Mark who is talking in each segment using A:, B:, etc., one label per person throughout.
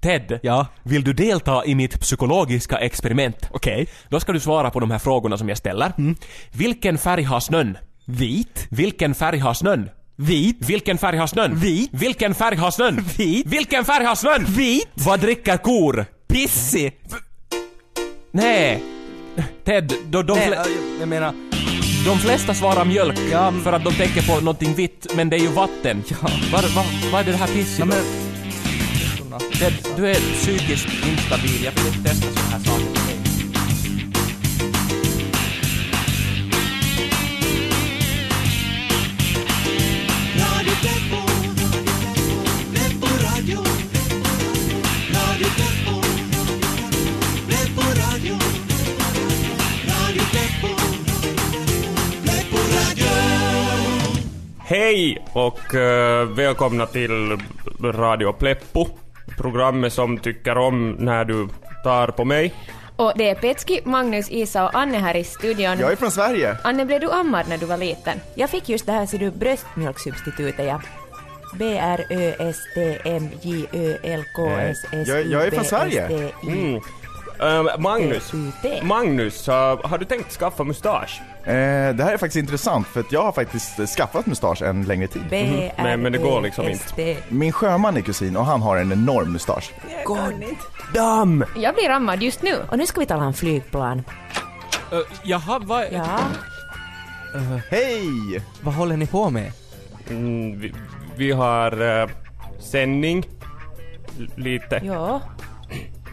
A: Ted,
B: Ja.
A: vill du delta i mitt psykologiska experiment?
B: Okej. Mm.
A: Då ska du svara på de här frågorna som jag ställer. Vilken färg har snön?
B: Vit.
A: Vilken färg har snön?
B: Vit.
A: Vilken färg har snön?
B: Vit.
A: Vilken färg har snön?
B: Vit.
A: Vilken färg har snön?
B: Vit.
A: Vad dricker kor?
B: Pissig.
A: Nej. Ted, då, de,
B: Nej,
A: fle-
B: jag- jag menar...
A: de flesta svarar mjölk
B: Ja, men-
A: för att de tänker på någonting vitt, men det är ju vatten.
B: Ja.
A: Vad vad- vad är det här pissigt?
B: Ja, men...
A: Ted, du är psykiskt instabil. Jag vill inte testa såna här saker på dig.
C: Radio Tempo, Tempo Radio, Radio Tempo, Tempo Radio, Radio Tempo, Tempo Radio.
D: Hej och eh, välkomna till Radio Pleppo. Programmet som tycker om när du tar på mig.
E: Och det är Petski, Magnus, Isa och Anne här i studion.
F: Jag är från Sverige.
E: Anne, blev du ammad när du var liten?
G: Jag fick just det här, ser du, bröstmjölkssubstitutet, ja. B-R-Ö-S-T-M-J-Ö-L-K-S-S-U-B-S-T-I.
F: Jag- jag är från Sverige.
D: Mm. Eh, Magnus,
G: Ute.
D: Magnus, eh, har du tänkt skaffa mustasch?
F: Eh, det här är faktiskt intressant för att jag har faktiskt eh, skaffat mustasch en längre tid.
D: Nej, men det går liksom inte.
F: Min sjöman är kusin och han har en enorm mustasch.
D: Damm!
E: Jag blir ammad just nu.
G: Och nu ska vi tala om flygplan.
A: Uh, jaha, vad...
G: Ja.
F: Hej!
B: Vad håller ni på med?
D: Mm, vi, vi har eh, sändning. L- lite.
G: Ja.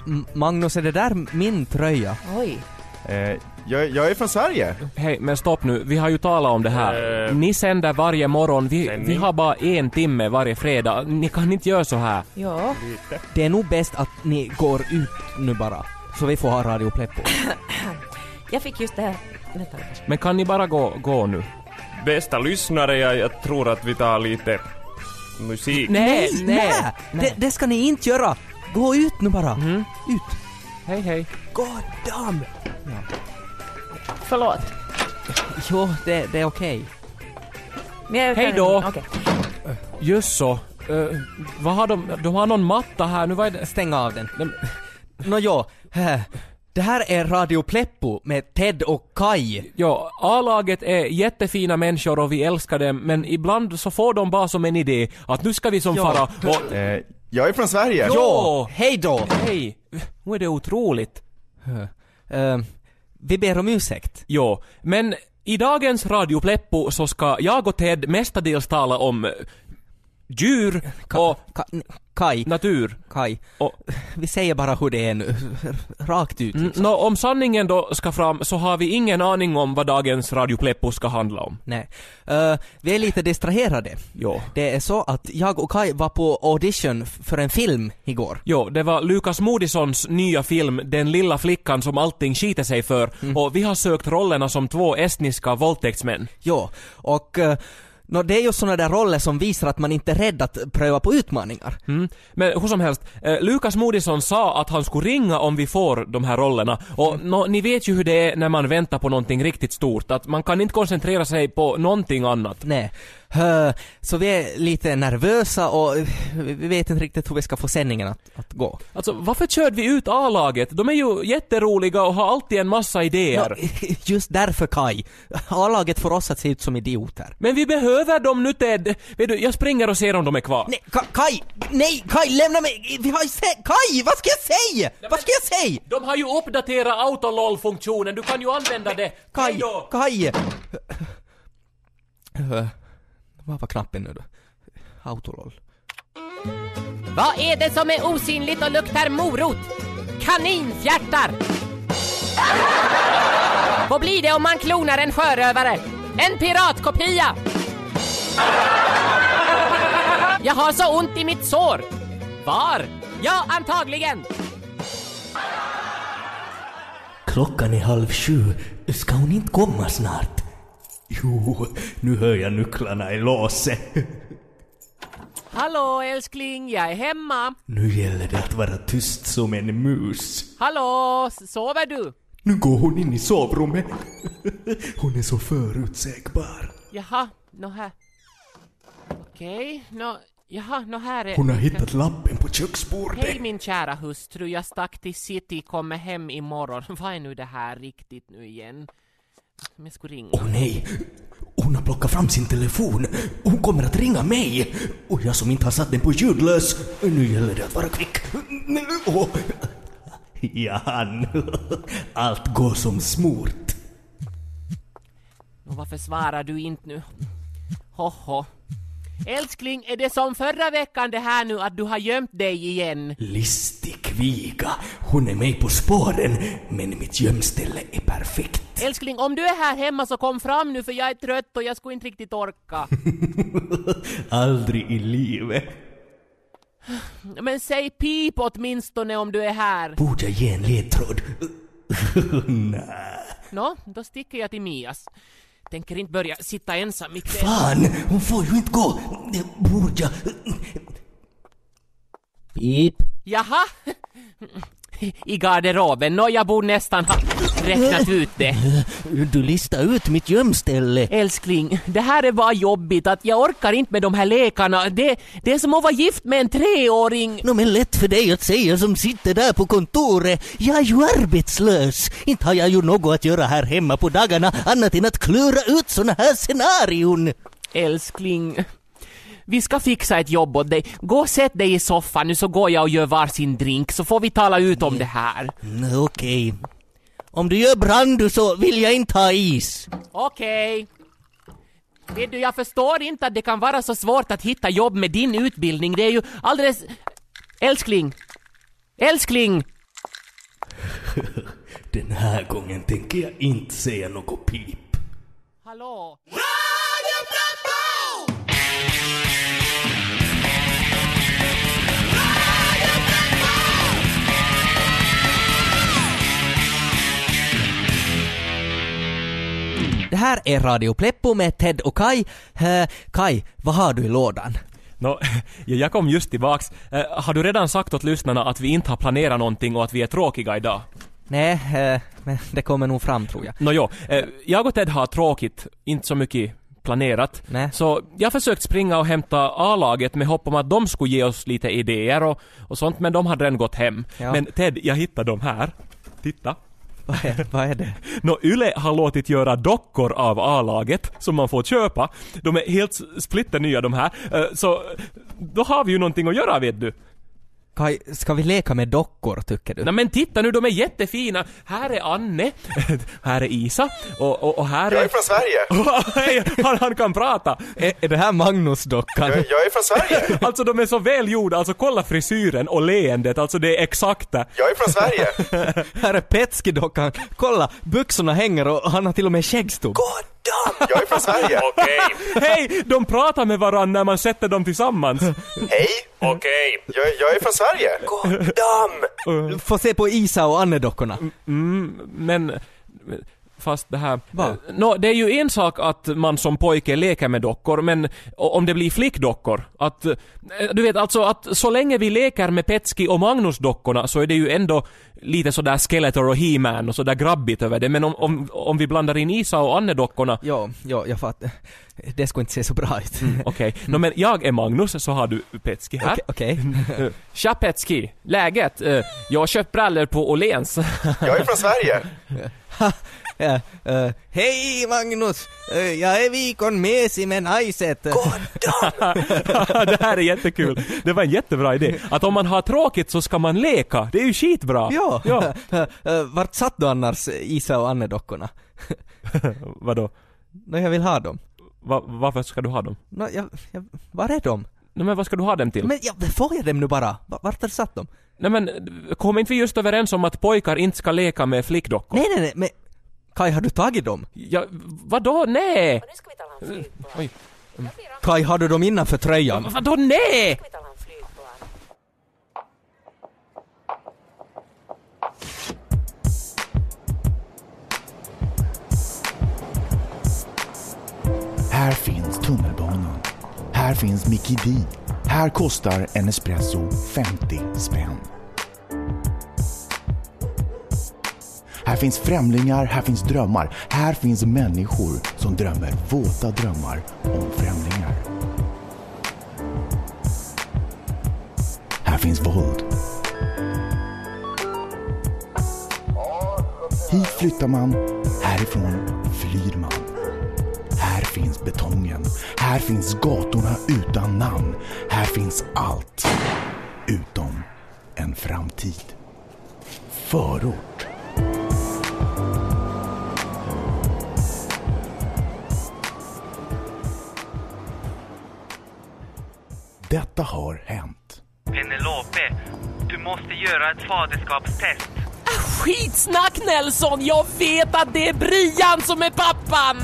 B: M- Magnus, är det där min tröja?
G: Oj.
F: Eh, jag, jag är från Sverige.
A: Hej, men stopp nu. Vi har ju talat om det här.
D: Eh.
A: Ni sänder varje morgon. Vi,
D: Sändning.
A: vi har bara en timme varje fredag. Ni kan inte göra så här.
G: Ja.
B: Det är nog bäst att ni går ut nu bara. Så vi får ha Radio Pleppo.
G: Jag fick just det här. Vänta, vänta.
A: Men kan ni bara gå, gå nu?
D: Bästa lyssnare, jag, jag tror att vi tar lite musik.
A: Nej,
B: nej. Mm. Det, det ska ni inte göra! Gå ut nu bara! Ut!
A: Hej, hej.
B: God damn!
E: Förlåt.
B: Jo, det, det är okej.
G: Men jag
A: Hej
G: kan-
A: då.
G: Okej.
A: Just så. Eh, vad har de... De har någon matta här. Nu vad är det?
B: Stäng av den. Nåjo, eh, det här är Radio Pleppo med Ted och Kai.
A: Ja, A-laget är jättefina människor och vi älskar dem, men ibland så får de bara som en idé att nu ska vi som
B: Ja.
A: fara och...
F: Eh, jag är från Sverige.
A: Ja.
B: Hej då!
A: Hej! Nu är det otroligt.
B: Eh, vi ber om ursäkt.
A: Jo, men i dagens Radio Pleppo så ska jag och Ted mestadels tala om eh, djur och
B: Ka, n- Kai,
A: natur.
B: Kai.
A: Och,
B: Vi säger bara hur det är nu. Rakt ut.
A: mm, nå, om sanningen då ska fram så har vi ingen aning om vad dagens Radio Pleppo ska handla om.
B: Nej. Eh, vi är lite distraherade.
A: Jo.
B: Det är så att jag och Kai var på audition f- för en film igår.
A: Jo, det var Lukas Moodyssons nya film Den lilla flickan som allting skiter sig för och vi har sökt rollerna som två estniska våldtäktsmän.
B: Ja, och eh, nå, det är ju såna där roller som visar att man inte är rädd att pröva på utmaningar.
A: Mm. Men hur som helst, eh, Lukas Moodysson sa att han skulle ringa om vi får de här rollerna och
B: Mm.
A: nå, ni vet ju hur det är när man väntar på någonting riktigt stort, att man kan inte koncentrera sig på någonting annat.
B: Nej. Eh, så vi är lite nervösa och eh, vi vet inte riktigt hur vi ska få sändningen att, att gå.
A: Alltså, varför körde vi ut A-laget? De är ju jätteroliga och har alltid en massa idéer.
B: Nå, just därför Kai. A-laget får oss att se ut som idioter.
A: Men vi behöver dem nu Ted! Vet du, jag springer och ser om de är kvar.
B: Nej, Ka- Kai! Nej, Kai, lämna mig! Vi har ju se- Kai, vad ska jag säga? Vad ska jag säga?
A: De har ju uppdaterat autolol-funktionen, du kan ju använda det.
B: Kaj,
A: Hejdå!
B: Kaj! Eh, Vad var knappen nu då? Autoroll.
H: Vad är det som är osynligt och luktar morot? Kaninfjärtar! Vad blir det om man klonar en sjörövare? En piratkopia! Jag har så ont i mitt sår! Var? Ja, antagligen!
I: Klockan är halv sju. Ska hon inte komma snart? Jo, nu hör jag nycklarna i låset.
H: Hallå älskling, jag är hemma.
I: Nu gäller det att vara tyst som en mus.
H: Hallå, s- sover du?
I: Nu går hon in i sovrummet. Hon är så förutsägbar.
H: Jaha, nå här. Okej, nå, Jaha, nå här är...
I: Hon har hittat lappen på
H: Hej
I: köksbordet.
H: min kära hustru, jag stack till city, kommer hem imorgon. Vad är nu det här riktigt nu igen? Men jag skulle ringa.
I: Åh nej! Hon har plockat fram sin telefon. Hon kommer att ringa mig! Och jag som inte har satt den på ljudlös. Nu gäller det att vara kvick. Åh. Jan, allt går som smort.
H: Och varför svarar du inte nu? Hoho. Älskling, är det som förra veckan det här nu att du har gömt dig igen?
I: Listig kviga. Hon är mig på spåren, men mitt gömställe är perfekt.
H: Älskling, om du är här hemma så kom fram nu för jag är trött och jag skulle inte riktigt orka.
I: Aldrig i livet.
H: Men säg pip åtminstone om du är här.
I: Borde jag ge en ledtråd? Nej.
H: Nå, då sticker jag till Mias. Tänker inte börja sitta ensam mitt i...
I: Fan, hon får ju inte gå. Det Borde jag...
H: Pip. Jaha? I garderoben? Nå, jag borde nästan ha räknat ut det.
I: Du listar ut mitt gömställe.
H: Älskling, det här är bara jobbigt att jag orkar inte med de här lekarna. Det, det är som att vara gift med en treåring.
I: Nå men lätt för dig att säga som sitter där på kontoret. Jag är ju arbetslös. Inte har jag ju något att göra här hemma på dagarna annat än att klura ut såna här scenarion.
H: Älskling, vi ska fixa ett jobb åt dig. Gå och sätt dig i soffan nu så går jag och gör varsin drink så får vi tala ut om det här.
I: Mm, Okej. Om du gör brandu så vill jag inte ha is.
H: Okej. Vet du, jag förstår inte att det kan vara så svårt att hitta jobb med din utbildning. Det är ju alldeles... Älskling! Älskling!
I: Den här gången tänker jag inte säga något pip.
H: Hallå?
B: Det här är Radio Pleppo med Ted och Kai. Eh, Kai, vad har du i lådan?
A: Nå, ja, jag kom just tillbaks. Eh, har du redan sagt åt lyssnarna att vi inte har planerat någonting och att vi är tråkiga idag?
B: Nej, eh, men det kommer nog fram tror jag.
A: Nåjo, eh, jag och Ted har tråkigt, inte så mycket planerat.
B: Nej.
A: Så jag försökt springa och hämta A-laget med hopp om att de skulle ge oss lite idéer och, och sånt, men de hade redan gått hem.
B: Ja.
A: Men Ted, jag hittade dem här. Titta.
B: Vad är, vad är det?
A: Nå, Yle har låtit göra dockor av A-laget som man får köpa. De är helt s- splitternya de här. Eh, Så då har vi ju någonting att göra vet du.
B: Kai, ska vi leka med dockor tycker du?
A: Nej men titta nu, de är jättefina! Här är Anne, här är Isa och, och, och här
F: Jag
A: är...
F: är från Sverige!
A: Hej, han, han kan prata! E,
B: Är, är det här Magnus-dockan?
F: Jag, jag är från Sverige!
A: Alltså de är så välgjorda, alltså kolla frisyren och leendet, alltså det är exakta.
F: Jag är från Sverige!
B: Här är Petski-dockan. Kolla, byxorna hänger och han har till och med skäggstubb.
F: Jag är från Sverige!
D: Okej,
A: Hej! De pratar med varandra när man sätter dem tillsammans.
F: Hej!
D: okej.
F: Jag, jag är från Sverige!
B: Få se på Isa och Anne-dockorna.
A: Mm, Men... Fast det här... eh,
B: Va?
A: Nå, det är ju en sak att man som pojke leker med dockor, men o- om det blir flickdockor, att... eh, Du vet, alltså att så länge vi leker med Petski och Magnus-dockorna så är det ju ändå lite sådär Skeletor och He-Man och sådär grabbigt över det, men om, om, om vi blandar in Isa och Anne-dockorna
B: Jo, jo, jag fattar. Det skulle inte se så bra ut.
A: Okej, nå men jag är Magnus så har du Petski här.
B: Okej, okej.
A: Eh, Tja Petski, läget? Eh, Jag har köpt brallor på Åhléns.
F: Jag är från Sverige!
B: Ja, eh, Hej Magnus! Eh, jag är Vikon Mesi med Naiset.
A: det här är jättekul. Det var en jättebra idé. Att om man har tråkigt så ska man leka. Det är ju skitbra.
B: Ja!
A: ja.
B: Eh, Vart satt du annars Isa och Anne-dockorna?
A: Vadå?
B: Nå, jag vill ha dem.
A: Va, varför ska du ha dem?
B: Nå, jag, jag, var är de?
A: Nej, men vad ska du ha dem till?
B: Men jag, får jag dem nu bara? Va- Vart har du satt dem?
A: Nej men, kom inte vi just överens om att pojkar inte ska leka med flickdockor?
B: Nej, nej, nej, men Kai, har du tagit dem?
A: Ja, vadå nej?
G: Nu ska vi tala om flygplan.
B: Kai, har du dem innanför tröjan?
A: Vadå nej?
G: Nu ska vi tala om flygplan.
J: Här finns tunnelbanan. Här finns Mickey D. Här kostar en espresso 50 spänn. Här finns främlingar, här finns drömmar. Här finns människor som drömmer våta drömmar om främlingar.
F: finns våld. Hit flyttar man, härifrån flyr man. Här finns betongen, här finns gatorna utan namn. Här finns allt, utom en framtid. Förort. Detta har hänt.
K: Penelope, du måste göra ett faderskapstest.
A: Skitsnack Nelson! Jag vet att det är Brian som är pappan!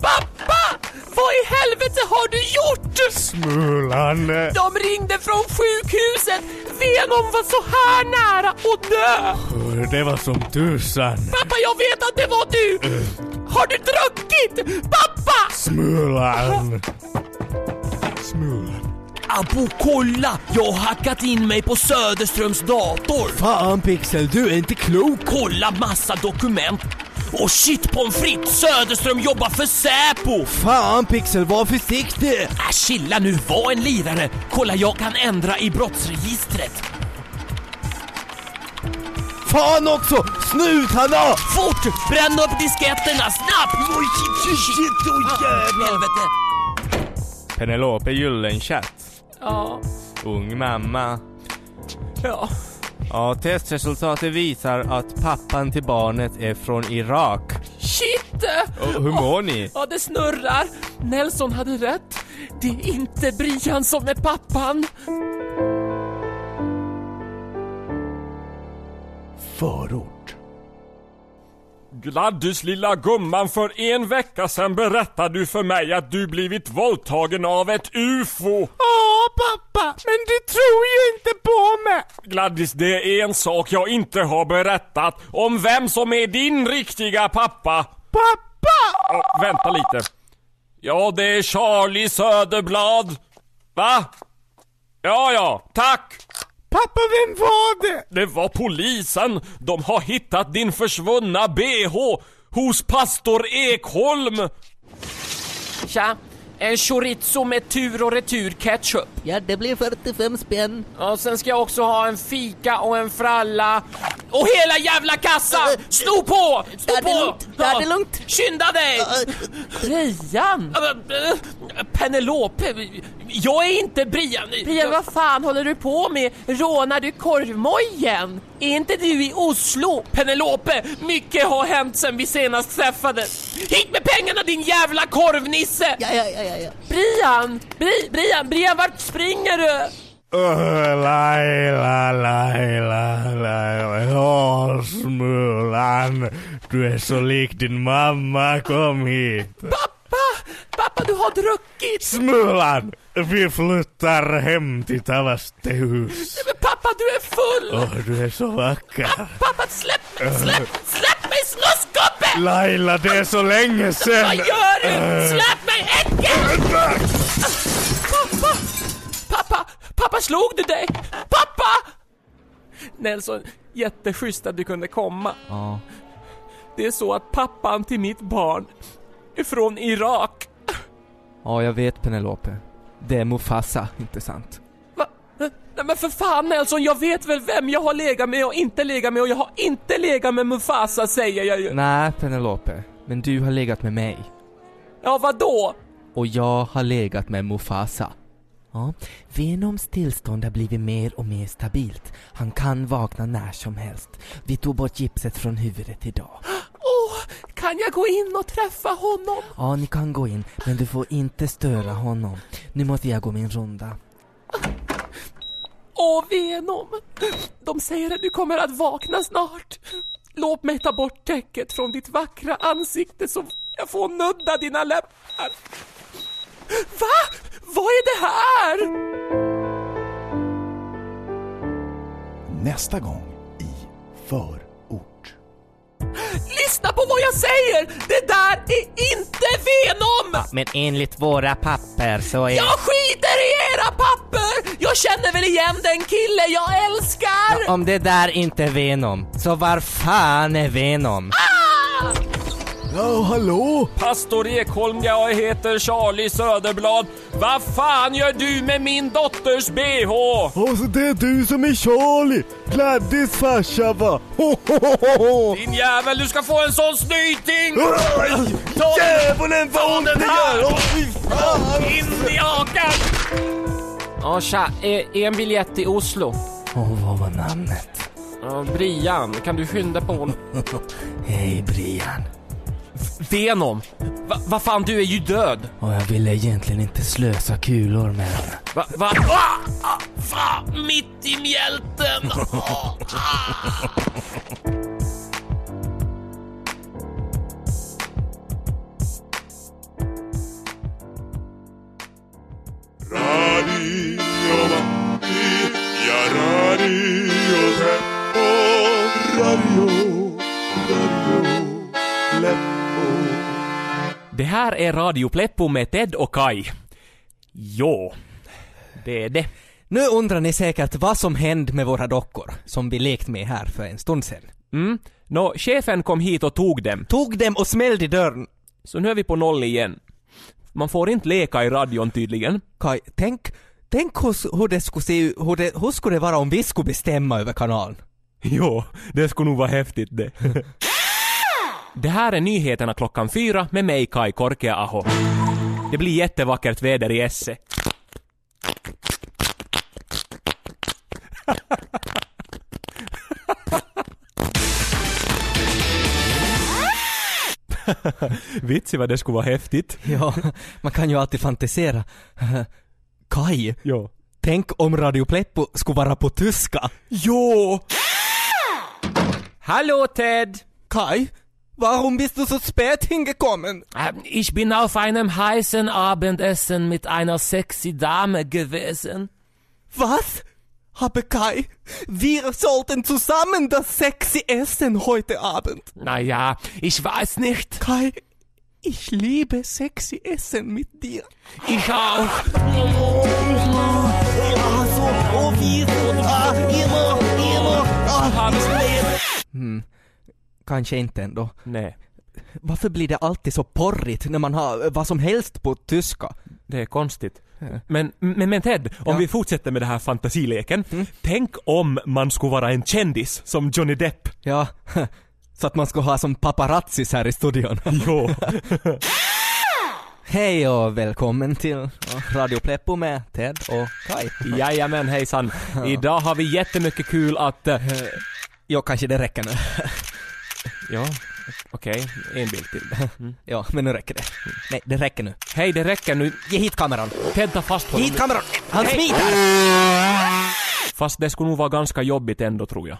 A: Pappa! Vad i helvete har du gjort?
I: Mulan!
A: De ringde från sjukhuset! Venom var så här nära att dö!
I: Det var som tusan. Eh.
A: Pappa, jag vet att det var du! Har du druckit? Pappa!
I: Mulan! Smulan.
L: Abo, kolla! Jag har hackat in mig på Söderströms dator!
I: Fan Pixel, du är inte klok!
L: Kolla massa dokument! Och shit pommes frites, Söderström jobbar för Säpo!
M: Fan Pixel, var försiktig!
L: Äh, chilla nu, var en lirare! Kolla, jag kan ändra i brottsregistret!
M: Fan också! Snuthanna!
L: Fort! Bränn upp disketterna, snabbt! Oj, shit, shit, shit, oj jävlar! Helvete!
H: Penelope Gyllenchatt.
A: Ja.
H: Ung mamma.
A: Ja.
H: Ja, testresultatet visar att pappan till barnet är från Irak.
A: Shit!
H: Och hur mår ni?
A: Ja, det snurrar. Nelson hade rätt. Det är inte Brian som är pappan.
F: Förort.
D: Gladys lilla gumman, för en vecka sedan berättade du för mig att du blivit våldtagen av ett UFO.
I: Åh pappa, men du tror ju inte på mig!
D: Gladys, det är en sak jag inte har berättat om vem som är din riktiga pappa.
I: Pappa!
D: Ja, vänta lite. Ja, det är Charlie Söderblad. Va? Ja, ja, tack.
I: Pappa, vem var det?
D: Det var polisen. De har hittat din försvunna bh hos pastor Ekholm.
A: Tja, en chorizo med tur och retur ketchup.
N: Ja, det blir 45 spänn.
A: Ja, sen ska jag också ha en fika och en fralla. Och hela jävla kassan! Sno på! Sno
N: Ta det
A: på!
N: lugnt, ta det lugnt.
A: Skynda dig! Brian!
L: eh,
A: Penelope, jag är inte Brian. Brian, vad fan håller du på med? Rånar du korvmojen? Är inte du i Oslo? Penelope, mycket har hänt sen vi senast träffades. Hit med pengarna din jävla korvnisse!
N: Ja, ja, ja, ja, ja.
A: Brian! Bri, Brian, Brian, vart springer du?
I: Öh, Laila, Laila, Laila. Åh, Smulan. Du är så lik din mamma. Kom hit.
A: Pappa, du har druckit!
I: Smulan, vi flyttar hem till Tavastehus.
A: Men pappa, du är full!
I: Åh, du är så vacker.
A: Pappa, släpp, släpp, släpp mig snuskgubbe!
I: Laila, det är så länge sedan.
A: Vad gör du?
I: Öh.
A: Släpp mig, äckel! Pappa! Pappa! Pappa, slog du dig? Pappa! Nelson, jätteschysst att du kunde komma.
B: Ja.
A: Det är så att pappan till mitt barn är från Irak.
B: Ja, jag vet Penelope. Det är Mufasa, inte sant?
A: Äh, Nej men för fan Nelson, jag vet väl vem jag har legat med och inte legat med och jag har inte legat med Mufasa säger jag ju.
B: Nej, Penelope. Men du har legat med mig.
A: Ja, vadå?
B: Och jag har legat med Mufasa. Ja, Venoms tillstånd har blivit mer och mer stabilt. Han kan vakna när som helst. Vi tog bort gipset från huvudet idag.
A: Åh, kan jag gå in och träffa honom?
B: Ja, ni kan gå in, men du får inte störa honom. Nu måste jag gå min runda.
A: Åh, Venom. De säger att du kommer att vakna snart. Låt mig ta bort täcket från ditt vackra ansikte så jag får nudda dina läppar. Va? Vad är det här?
F: Nästa gång i Förort.
A: Lyssna på vad jag säger! Det där är inte Venom!
B: Men enligt våra papper så är...
A: Jag skiter i era papper! Jag känner väl igen den kille jag älskar!
B: Om det där inte är Venom, så var fan är Venom?
A: Ah!
J: Ja, hallå?
O: Pastor Ekholm, jag heter Charlie Söderblad. Vad fan gör du med min dotters bh?
J: Och så det är du som är Charlie, Gladdys farsa va? Ho, ho, ho, ho, ho.
O: Din jävel, du ska få en sån snyting!
J: Aj! Djävulen vad ont det
A: Ah!
J: gör! Åh, fy fan!
O: In i hakan!
H: Ja, tja. E- En biljett till Oslo.
B: Och vad var namnet?
H: Ja, Brian, kan du skynda på honom?
B: Hej Brian.
A: Venom! Va- Vad fan, du är ju död!
B: Och jag ville egentligen inte slösa kulor med henne.
A: Va? va?
O: Ah, ah, fan, mitt i mjälten! Ah, ah.
A: Det här är Radio Pleppo med Ted och Kai. Jo, det är det.
B: Nu undrar ni säkert vad som hände med våra dockor som vi lekt med här för en stund sedan.
A: Mm. Nå, chefen kom hit och tog dem.
B: Tog dem och smällde i dörren.
A: Så nu är vi på noll igen. Man får inte leka i radion tydligen.
B: Kai, tänk, tänk hur, hur det skulle se ut- hur, det- hur skulle det vara om vi skulle bestämma över kanalen?
A: Jo, det skulle nog vara häftigt det. det här är nyheterna klockan fyra med mig Kai Korkeaho. Det blir jättevackert väder i Esse. Vitsi vad det skulle vara häftigt.
B: Ja, man kan ju alltid fantisera. Kai,
A: ja.
B: tänk om Radio Pleppo skulle vara på tyska?
A: Jo! Hallå Ted!
B: Kai, warum bist du så spät hingekommen?
A: Ähm, Ich bin auf einem heißen Abendessen mit einer sexy Dame gewesen.
B: Was? Habe Kai, wir sollten zusammen das sexy essen heute Abend.
A: Naja, ich weiß nicht.
B: Kai, ich liebe sexy essen mit dir.
A: Ich auch.
B: Hmm, kanske inte ändå.
A: Nej,
B: Varför blir det alltid så porrigt när Ne, man har vad som helst på tyska?
A: det är konstigt.
B: Ja.
A: Men, men, men Ted, um om vi fortsätter med den här fantasileken. Tänk om um, man skulle vara en kändis som Johnny Depp.
B: Ja, så att man ska ha som paparazzis här i studion.
A: Jo.
B: Hej och välkommen till Radio Pleppo med Ted och Kai.
A: Jajamän hejsan. Idag har vi jättemycket kul att... eh,
B: Ja, kanske det räcker nu.
A: Ja, okej. En bild till. Mm.
B: Ja, men nu räcker det. Nej, det räcker nu.
A: Hej, det räcker nu.
B: Ge hit kameran.
A: Ted, ta fast honom.
B: Hit kameran! Han
A: Hej.
B: smiter!
A: Fast det skulle nog vara ganska jobbigt ändå tror jag.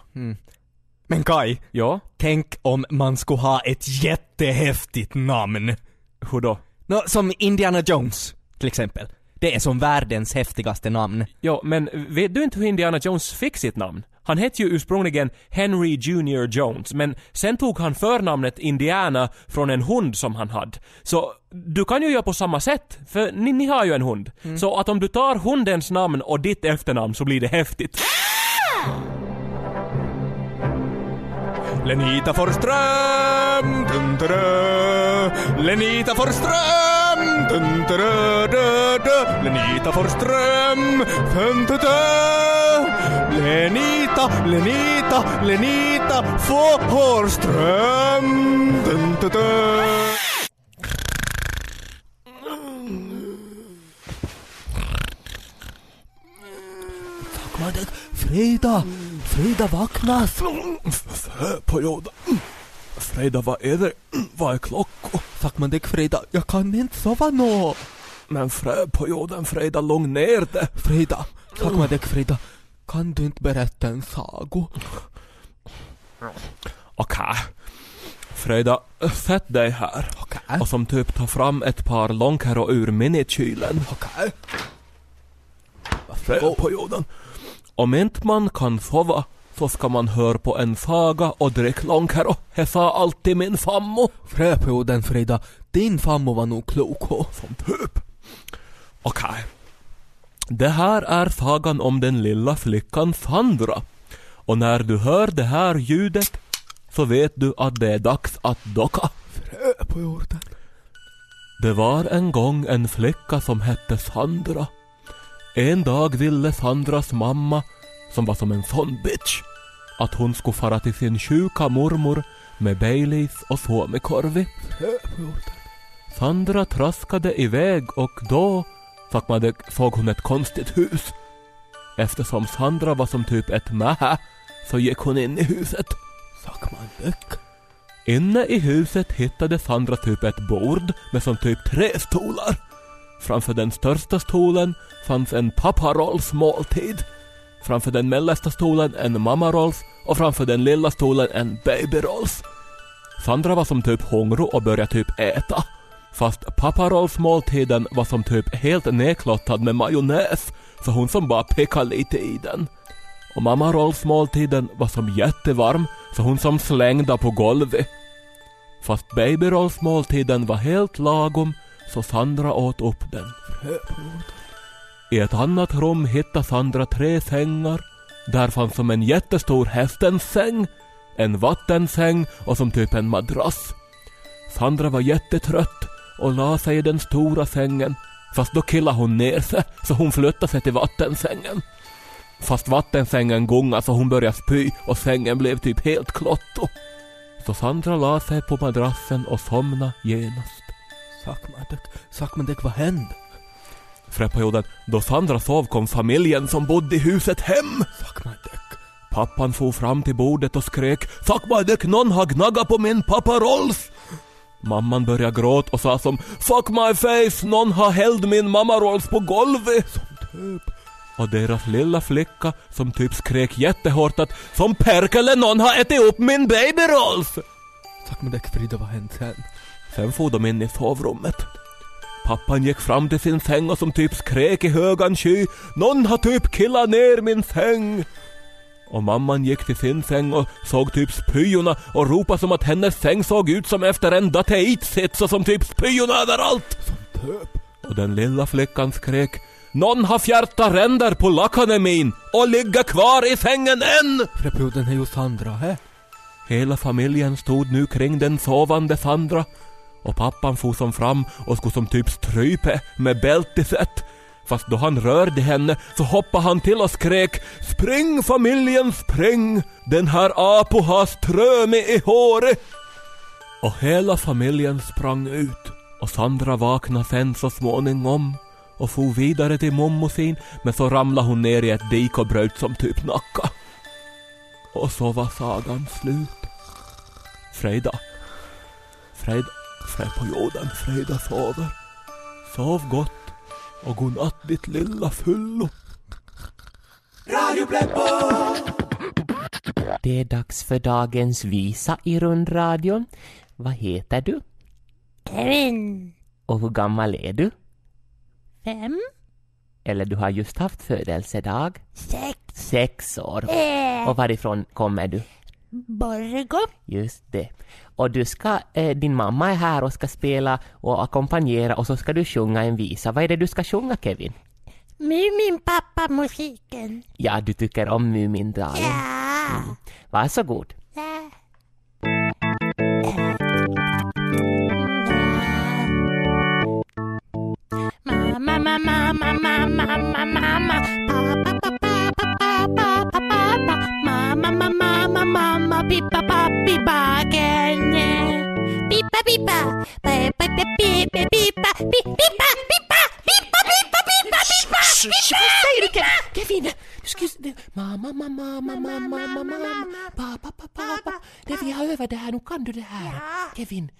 B: Men Kai,
A: Ja?
B: tänk om man skulle ha ett jättehäftigt namn.
A: Hur då?
B: Nå, som Indiana Jones, till exempel. Det är som världens häftigaste namn.
A: Ja, men vet du inte hur Indiana Jones fick sitt namn? Han hette ju ursprungligen Henry Junior Jones, men sen tog han förnamnet Indiana från en hund som han hade. Så du kan ju göra på samma sätt, för ni, ni har ju en hund. Så att om du tar hundens namn och ditt efternamn så blir det häftigt.
I: Lenita Forsström! Dun, dun, dun. Lenita Forsström! Dun, dun, dun, dun, dun. Lenita Forsström! Dun, dun, dun. Lenita, Lenita, Lenita Forsström! Dun, dun, dun.
P: Frida! Frida vaknas!
I: Perioda. Freda, vad är det? Vad är klockan?
B: Tack man dig Frida, jag kan inte sova nå.
I: Men frö, perioden, Freda, lugn ner det.
B: Frida, tack man dig Frida, kan du inte berätta en sago?
A: Okej. Fröjda, sätt dig här.
B: Okej.
A: Och som typ ta fram ett par långkärror ur minikylen.
B: Okej.
A: Fröjda på jorden. Om inte man kan sova så ska man höra på en saga och dricka långkärror. Det sa alltid min fammo.
B: Fröperioden Frida, din farmor var nog klok hå.
A: Som typ. Okej. Det här är sagan om den lilla flickan Sandra. Och när du hör det här ljudet så vet du att det är dags att docka.
B: Frö
Q: ö på jorden.
A: Det var en gång en flicka som hette Sandra. En dag ville Sandras mamma, som var som en sån bitch, att hon skulle fara till sin sjuka mormor med Baileys och suomikorvi.
Q: Ö på jorden.
A: Sandra traskade iväg och då såg, man det, såg hon ett konstigt hus. Eftersom Sandra var som typ ett mähä så gick hon in i huset. Inne i huset hittade Sandra typ ett bord med som typ tre stolar. Framför den största stolen fanns en papparolls måltid. Framför den mellersta stolen en mammarolls och framför den lilla stolen en babyrolls. Sandra var som typ hungrig och började typ äta. Fast papparolls måltiden var som typ helt nedklottad med majonnäs så hon som bara pickade lite i den. Och mamma Rolfs måltiden var som jättevarm så hon som slängda på golvet. Fast baby Rolfs måltiden var helt lagom så Sandra åt upp den.
Q: Ö på jorden.
A: I ett annat rum hittade Sandra tre sängar. Där fanns som en jättestor hästens säng, en vattensäng och som typ en madrass. Sandra var jättetrött och la sig i den stora sängen. Fast då killade hon ner sig så hon flyttade sig till vattensängen. Fast vattensängen gungade så hon började spy och sängen blev typ helt klotto. Så Sandra la sig på madrassen och somnade genast.
B: Sakmadek, Sakmadek, vad hände?
A: Fräpperjorden, då Sandra sov kom familjen som bodde i huset hem. Pappan for fram till bordet och skrek Fuck my dick, någon har gnaggat på min pappa Rolf! Mamman började gråta och sa som Fuck my face, någon har hällt min mamma Rolf på golvet!
B: typ.
A: Och deras lilla flicka som typ skrek jättehårt att Som perkele någon har ätit upp min baby Rolf!
B: Sakmadek, Frida, vad hände sen?
A: Sen for de in i sovrummet. Pappan gick fram till sin säng och som typ skrek i högan sky Någon har typ killat ner min säng! Och mamman gick till sin säng och såg typ spyorna och ropade som att hennes säng såg ut som efter en dateit-sits och som typ spyorna överallt! Och den lilla flickan skrek Någon har fjärtat ränder på lakanen min och ligger kvar i sängen än!
B: Fräpperjorden är ju Sandra här.
A: Hela familjen stod nu kring den sovande Sandra och pappan for som fram och skulle som typ strype med bältiset. Fast då han rörde henne så hoppade han till och skrek Spring familjen spring! Den här Apo har ströme i håret! Och hela familjen sprang ut och Sandra vaknade sen så småningom och for vidare till mommo sin men så ramlade hon ner i ett dik och bröt som typ nacka. Och så var sagan slut. Freda. Freda. Fred på jorden. Freda sover. Sov gott. Och godnatt ditt lilla fullo.
R: Radio Pleppo!
H: Det är dags för dagens visa i rundradion. Vad heter du?
I: Kevin.
H: Och hur gammal är du?
I: Fem.
H: Eller du har just haft födelsedag?
I: Sex.
H: Sex år.
I: Eh.
H: Och varifrån kommer du?
I: Borgo.
H: Just det. Och du ska, eh, din mamma är här och ska spela och ackompanjera och så ska du sjunga en visa. Vad är det du ska sjunga Kevin?
I: Mumin pappa musiken.
H: Ja, du tycker om Mumindalen. Ja. Mm. Varsågod.
I: Mamma, mamma, mamma, mamma, mamma. Mamma, mamma, mamma, mamma, pippa, pappi, baken. Pippa, pippa, pippa, pippa, pippa, pippa, pippa, pippa, pippa, pippa, pippa, pippa, pippa.
Q: Vad säger du Kevin? Kevin! Du ska ju... du- Mamma, mamma, mamma, mamma, mamma, mamma, pappa, pappa, pappa. Det vi har övat det här, nu kan du det här. Kevin.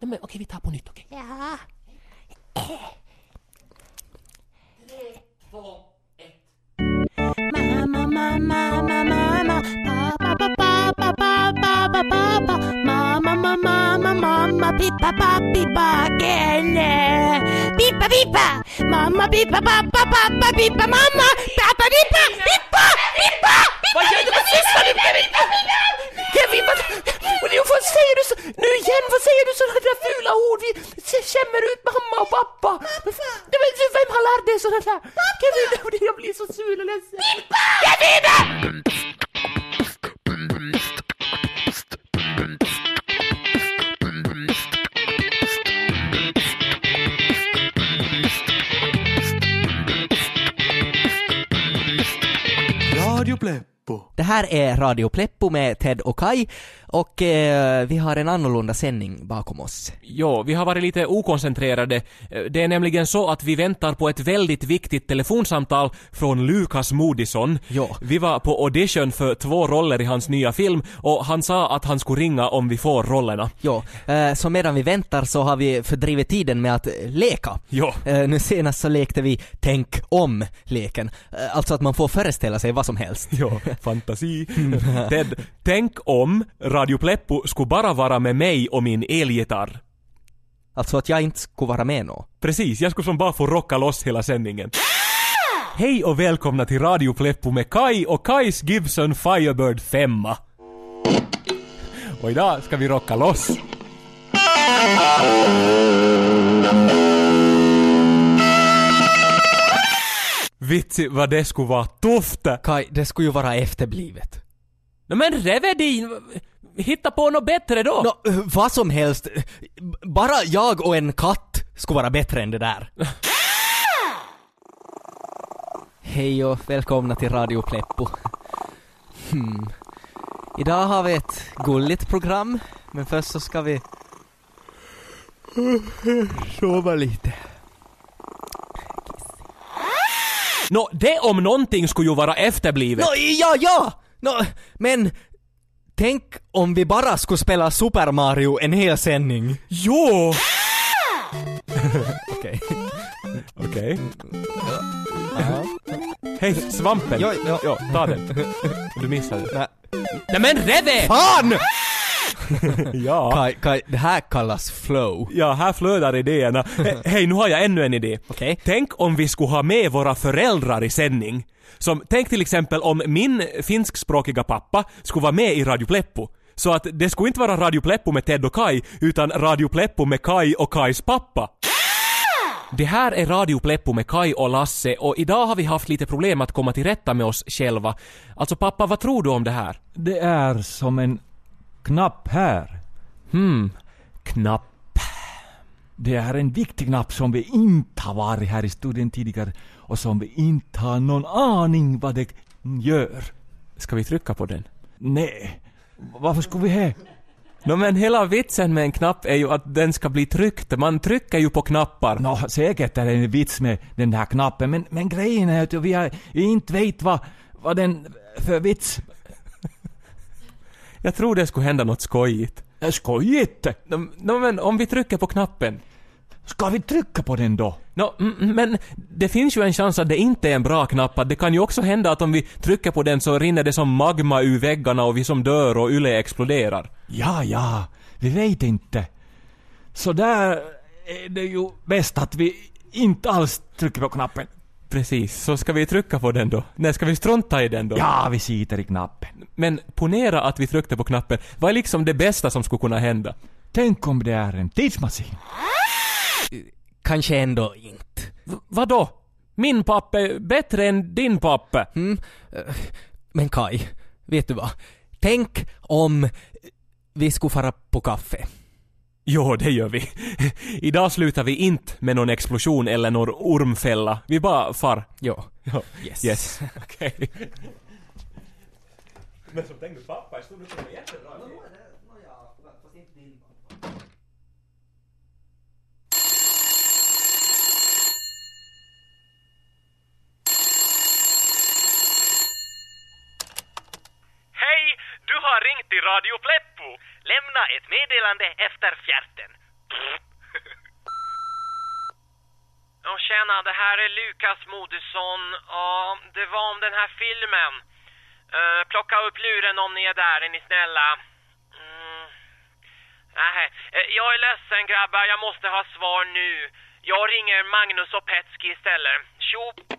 Q: Nej, men okej, vi tar på nytt, okej?
I: Ja. Mamma, mamma, mamma, mamma, pappa, pappa, pappa, pappa, pappa, mamma, mamma, mamma, mamma, pippa, pappi, baken. Pippa, pippa, mamma, pippa, pappa, pappa, pippa, mamma, pappa, pippa, pippa, pippa,
Q: Vad gör du? Vad sysslar du med? Kevin, vad... Och nu, vad säger du så... Nu igen, vad säger du sådana där fula ord? Vi k- känner ut mamma och pappa. Pappa! Men, men, vem har lärt dig sådana där? Kevin, jag blir så sur och ledsen. Pippa! Kevin!
J: Pleppo.
B: Det här är Radio Pleppo med Ted och Kai och eh, vi har en annorlunda sändning bakom oss.
A: Jo, vi har varit lite okoncentrerade. Eh, Det är nämligen så att vi väntar på ett väldigt viktigt telefonsamtal från Lukas Moodysson.
B: Ja.
A: Vi var på audition för två roller i hans nya film och han sa att han skulle ringa om vi får rollerna.
B: Ja, eh, så medan vi väntar så har vi fördrivit tiden med att eh, leka.
A: Ja.
B: Eh, nu senast så lekte vi Tänk om-leken. Eh, alltså att man får föreställa sig vad som helst.
A: Ja, fantasi. Ted, tänk om Radio Pleppo skulle bara vara med mig och min elgitarr.
B: Alltså att jag inte skulle vara med nå.
A: Precis, jag skulle som bara få rocka loss hela sändningen. Hej och välkomna till Radio Pleppo med Kai och Kais Gibson Firebird 5. Och idag ska vi rocka loss. Vitsi vad det skulle vara tufft!
B: Kai, det skulle ju vara efterblivet.
A: Nå men Revedin, hitta på något bättre då!
B: Nå, eh, vad som helst. Eh, b- Bara jag och en katt skulle vara bättre än det där. Hej och välkomna till Radio Pleppo. Hmm. Idag har vi ett gulligt program, men först så ska vi sova lite.
A: Nå, det om någonting skulle ju vara efterblivet.
B: Nå, ja, ja! Nå, men tänk om vi bara skulle spela Super Mario en hel sändning.
A: Jo!
B: Okej.
A: Okej. Hej, svampen!
B: Ja, ja.
A: ta den. Du missade det.
B: Nej.
A: Nej men Reve!
B: Fan!
A: ja.
B: Kai, Kai, det här kallas flow.
A: Ja, här flödar idéerna. He- Hej, nu har jag ännu en idé.
B: Okej.
A: Tänk om vi skulle ha med våra föräldrar i sändning. Som, tänk till exempel om min finskspråkiga pappa skulle vara med i Radio Pleppo. Så att det skulle inte vara Radio Pleppo med Ted och Kai, utan Radio Pleppo med Kai och Kais pappa. Det här är Radio Pleppo med Kai och Lasse och idag har vi haft lite problem att komma till rätta med oss själva. Alltså pappa, vad tror du om det här?
S: Det är som en knapp här.
A: Hmm, knapp.
S: Det är en viktig knapp som vi inte har varit här i studion tidigare och som vi inte har någon aning vad det gör.
A: Ska vi trycka på den?
S: Nej. Varför skulle vi ha?
A: Nå men hela vitsen med en knapp är ju att den ska bli tryckt. Man trycker ju på knappar.
S: Nå, säkert är det en vits med den här knappen, men, men grejen är att vi har, inte vet vad, vad den för vits.
A: Jag tror det skulle hända något skojigt.
S: Skojigt?
A: Nå nå, men om vi trycker på knappen.
S: Ska vi trycka på den då?
A: Nå, mm, mm, men det finns ju en chans att det inte är en bra knapp. Att Det kan ju också hända att om vi trycker på den så rinner det som magma ur väggarna och vi som dör och Yle exploderar.
S: Ja, ja, vi vet inte. Så där är det ju bäst att vi inte alls trycker på knappen.
A: Precis, så ska vi trycka på den då? Nej, ska vi strunta i den då?
S: Ja, Ah, vi sitter i knappen.
A: Men ponera att vi tryckte på knappen. Vad är liksom det bästa som skulle kunna hända?
S: Tänk om det är en tidsmaskin.
B: Kanske ändå inte.
A: Vadå? Min pappa är bättre än din pappa.
B: Mm. eh, Men Kai, vet du vad? Tänk om vi skulle fara på kaffe.
A: Jo, det gör vi. Idag slutar vi inte med någon explosion eller någon ormfälla. Vi bara far.
B: Ja.
A: Ja.
B: Yes.
A: Yes. Okej.
O: Men som tänkte pappa i stunden kommer jättebra.
T: Hej! Du har ringt till Radio Pleppo. Lämna ett meddelande efter fjärten.
H: Och tjena, det här är Lukas Moodysson. Ja, det var om den här filmen. Eh, plocka upp luren om ni är där, är ni snälla? Mm. Nähä. Eh, jag är ledsen grabbar, jag måste ha svar nu. Jag ringer Magnus och Petski istället. Tjo!